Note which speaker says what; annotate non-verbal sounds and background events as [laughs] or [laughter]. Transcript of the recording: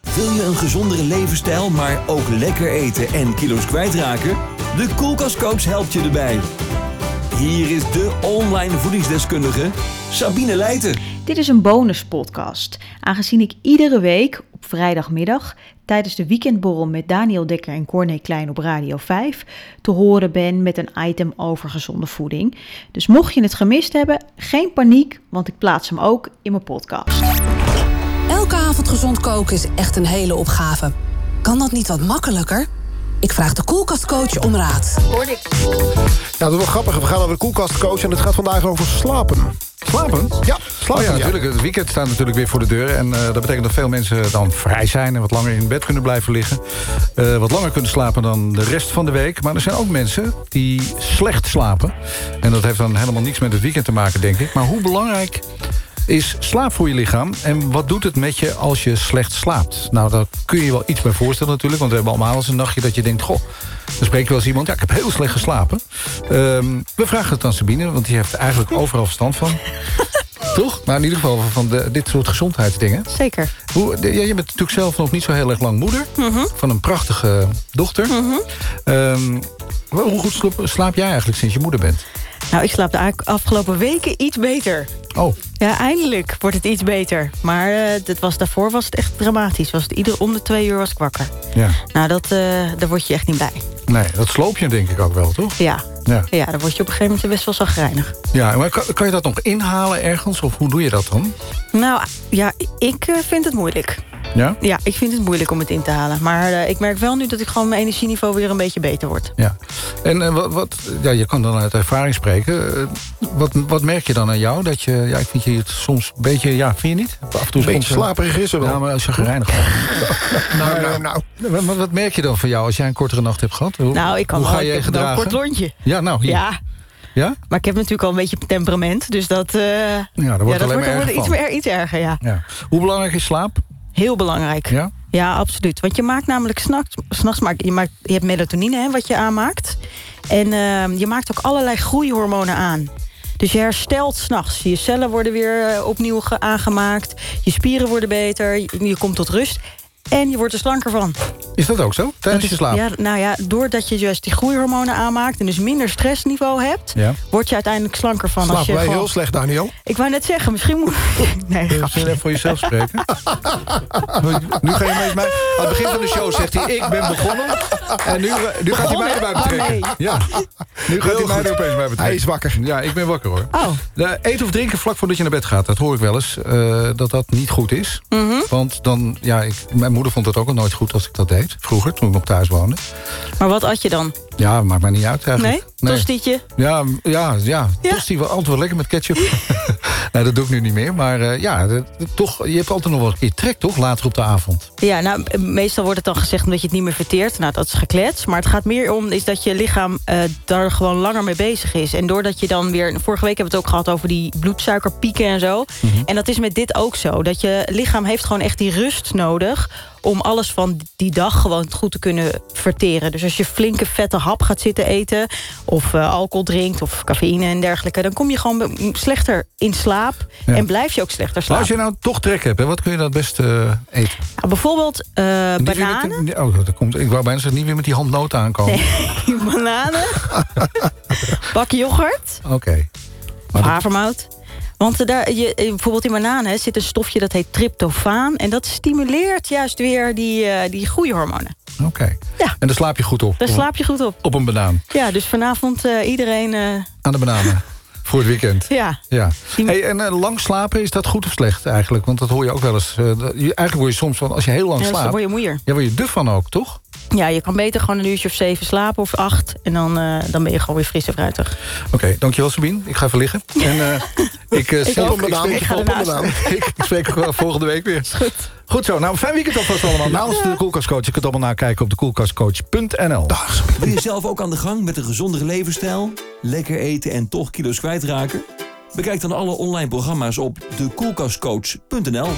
Speaker 1: Wil je een gezondere levensstijl, maar ook lekker eten en kilo's kwijtraken? De Koelkastcoach helpt je erbij. Hier is de online voedingsdeskundige Sabine Leijten.
Speaker 2: Dit is een bonuspodcast, aangezien ik iedere week op vrijdagmiddag tijdens de weekendborrel met Daniel Dekker en Corné Klein op Radio 5 te horen ben met een item over gezonde voeding. Dus mocht je het gemist hebben, geen paniek, want ik plaats hem ook in mijn podcast.
Speaker 3: Elke avond gezond koken is echt een hele opgave. Kan dat niet wat makkelijker? Ik vraag de koelkastcoach om raad.
Speaker 4: Ja, Nou, dat is wel grappig. We gaan over de koelkastcoach en het gaat vandaag over slapen.
Speaker 5: Slapen?
Speaker 4: Ja,
Speaker 5: Oh
Speaker 4: slapen.
Speaker 5: ja, natuurlijk. Het weekend staat natuurlijk weer voor de deur. En eh, dat betekent dat veel mensen dan vrij zijn en wat langer in bed kunnen blijven liggen. Eh, wat langer kunnen slapen dan de rest van de week. Maar er zijn ook mensen die slecht slapen. En dat heeft dan helemaal niks met het weekend te maken, denk ik. Maar hoe belangrijk is slaap voor je lichaam? En wat doet het met je als je slecht slaapt? Nou, daar kun je je wel iets bij voorstellen natuurlijk. Want we hebben allemaal eens een nachtje dat je denkt... goh, dan spreek je wel eens iemand, ja, ik heb heel slecht geslapen. Ehm, we vragen het aan Sabine, want die heeft eigenlijk overal verstand van. Toch? Maar Nou, in ieder geval van de, dit soort gezondheidsdingen.
Speaker 2: Zeker.
Speaker 5: Hoe, de- ja, je bent natuurlijk zelf nog niet zo heel erg lang moeder.
Speaker 4: Mhm.
Speaker 5: Van een prachtige dochter. Ehm, wel, hoe goed slaap, slaap jij eigenlijk sinds je moeder bent?
Speaker 6: Nou, ik slaap de a- afgelopen weken iets beter.
Speaker 5: Oh,
Speaker 6: Ja, eindelijk wordt het iets beter. Maar eh, dat was, daarvoor was het echt dramatisch. Was het ieder om de twee uur was ik wakker.
Speaker 5: ja.
Speaker 6: Nou, dat, eh, daar word je echt niet bij.
Speaker 5: Nee, dat sloop je denk ik ook wel, toch?
Speaker 6: Ja.
Speaker 5: Ja.
Speaker 6: ja, daar word je op een gegeven moment best wel zagrijnig.
Speaker 5: Ja, maar kan, kan je dat nog inhalen ergens? Of hoe doe je dat dan?
Speaker 6: Nou, ja, ik eh, vind het moeilijk.
Speaker 5: Ja?
Speaker 6: Ja, ik vind het moeilijk om het in te halen. Maar eh, ik merk wel nu dat ik gewoon mijn energieniveau weer een beetje beter wordt.
Speaker 5: Ja. En eh, wat, wat, ja, je kan dan uit ervaring spreken. Eh, wat, wat merk je dan aan jou? Dat je, ja, ik vind je het soms een beetje, ja, vind je niet? Af en toe
Speaker 4: Beetje
Speaker 5: soms, eh,
Speaker 4: slaperig is er wel.
Speaker 5: Ja, maar als je
Speaker 4: [laughs]
Speaker 5: gereinigd
Speaker 4: Nou, nou, nou.
Speaker 5: Wat, wat- wat merk je dan van jou als jij een kortere nacht hebt gehad? Hoe,
Speaker 6: Nou, ik kan
Speaker 5: hoe
Speaker 6: wel,
Speaker 5: ga
Speaker 6: ik
Speaker 5: je
Speaker 6: heb wel een
Speaker 5: gedragen?
Speaker 6: kort lontje.
Speaker 5: Ja, nou, hier.
Speaker 6: Ja,
Speaker 5: Ja?
Speaker 6: maar ik heb natuurlijk al een beetje temperament. Dus dat, eh,
Speaker 5: wordt alleen
Speaker 6: dat
Speaker 5: maar
Speaker 6: wordt
Speaker 5: erger
Speaker 6: iets,
Speaker 5: van.
Speaker 6: meer, iets erger, ja.
Speaker 5: ja. Hoe belangrijk is slaap?
Speaker 6: Heel belangrijk.
Speaker 5: Ja?
Speaker 6: Ja, absoluut. Want je maakt namelijk s'nachts, s'nachts maak, je, maakt, je hebt melatonine hè, wat je aanmaakt. En ehm, je maakt ook allerlei groeihormonen aan. Dus je herstelt s'nachts. Je cellen worden weer eh, opnieuw ge- aangemaakt. Je spieren worden beter. Je, je komt tot rust. En je wordt er slanker van.
Speaker 5: Is dat ook zo? Tijdens je slaap?
Speaker 6: Ja, nou ja, doordat je juist die groeihormonen aanmaakt... en dus minder stressniveau hebt...
Speaker 5: Ja.
Speaker 6: word je uiteindelijk slanker van. als je
Speaker 4: Slapen wij
Speaker 6: gewoon-
Speaker 4: heel slecht, Daniel.
Speaker 6: Ik wou net zeggen, misschien moet... [laughs] nee,
Speaker 5: Kun je misschien even voor jezelf spreken? [laughs] nu ga je ineens mij... Aan het begin van de show zegt hij, ik ben begonnen. En nu, eh, nu gaat hij mij erbij betrekken. Ja, nu gaat hij mij er opeens bij betrekken.
Speaker 4: Hij is wakker.
Speaker 5: Ja, ik ben wakker hoor.
Speaker 6: Oh.
Speaker 5: De eten of drinken vlak voordat je naar bed gaat, dat hoor ik wel eens. eh, dat dat niet goed is.
Speaker 6: Mhm.
Speaker 5: Want dan, ja, ik, mijn moeder vond het ook al nooit goed als ik dat deed. Vroeger, toen ik nog thuis woonde.
Speaker 6: Maar wat at je dan?
Speaker 5: Ja, maakt mij niet uit eigenlijk.
Speaker 6: Nee? Tostietje?
Speaker 5: Ja, m- ja, ja.
Speaker 6: Ja.
Speaker 5: Tosti wel altijd wel lekker met ketchup. [laughs] nou, dat doe ik nu niet meer. Maar eh, ja, dat- dat- toch, je hebt altijd nog wel een keer trek, toch? Later op de avond.
Speaker 6: Ja, nou, meestal wordt het dan gezegd omdat je het niet meer verteert. Nou, dat is geklets. Maar het gaat meer om is dat je lichaam eh, daar gewoon langer mee bezig is. En doordat je dan weer... Vorige week hebben we het ook gehad over die bloedsuikerpieken en zo.
Speaker 5: Mhm.
Speaker 6: En dat is met dit ook zo. Dat je lichaam heeft gewoon echt die rust nodig... om alles van die dag gewoon goed te kunnen verteren. Dus als je flinke vette hap gaat zitten eten... of eh, alcohol drinkt of cafeïne en dergelijke... dan kom je gewoon be- slechter in slaap.
Speaker 5: Ja.
Speaker 6: En blijf je ook slechter
Speaker 5: Maar
Speaker 6: slapen.
Speaker 5: als je nou toch trek hebt, hè, wat kun je dan het beste eh, eten?
Speaker 6: Nou, bijvoorbeeld eh,
Speaker 5: Niet weer met
Speaker 6: bananen.
Speaker 5: die- oh, dat komt, ik wou bijna zeggen, niet weer met die handnoten aankomen.
Speaker 6: bananen, bakje
Speaker 5: [laughs]
Speaker 6: yoghurt
Speaker 5: Oké.
Speaker 6: of
Speaker 5: Maar dat-
Speaker 6: havermout. Want eh, daar, je, eh, bijvoorbeeld in bananen zit een stofje dat heet tryptofaan. En dat stimuleert juist weer die, eh die groeihormonen.
Speaker 5: Oké.
Speaker 6: Ja.
Speaker 5: En daar slaap je goed op?
Speaker 6: Daar
Speaker 5: Op-
Speaker 6: slaap je goed op.
Speaker 5: Op een banaan.
Speaker 6: Ja, dus vanavond eh, iedereen... eh,
Speaker 5: Aan de
Speaker 6: [laughs]
Speaker 5: bananen. voor het weekend.
Speaker 6: ja.
Speaker 5: Ja.
Speaker 6: Die-
Speaker 5: Hey, en eh, lang slapen, is dat goed of slecht eigenlijk? Want dat hoor je ook wel eens. eh, dat- je- eigenlijk word je soms van, als je heel lang
Speaker 6: Ja, dan
Speaker 5: slaapt...
Speaker 6: word je moeier.
Speaker 5: Ja, word je duf van ook, toch?
Speaker 6: Ja, je kan beter gewoon een uurtje of zeven slapen of acht. En dan, eh, dan ben je gewoon weer fris en fruitig.
Speaker 5: Oké, dankjewel Sabine. Ik ga even liggen. En eh, [laughs] ik, eh, zie-
Speaker 4: ook.
Speaker 5: ik
Speaker 4: Ik
Speaker 5: spreek je
Speaker 4: ga
Speaker 5: gewoon-
Speaker 4: ernaast.
Speaker 5: [laughs] Ik ik spreek je wel volgende week weer. Goed. Goed zo. Nou, fijn weekend alvast allemaal. Namens de Koelkastcoach. Je kunt allemaal nakijken op de koelkastcoach.nl.
Speaker 1: Wil je zelf ook aan de gang met een gezondere levensstijl? Lekker eten en toch kilo's kwijtraken? Bekijk dan alle online programma's op dekoelkastcoach.nl.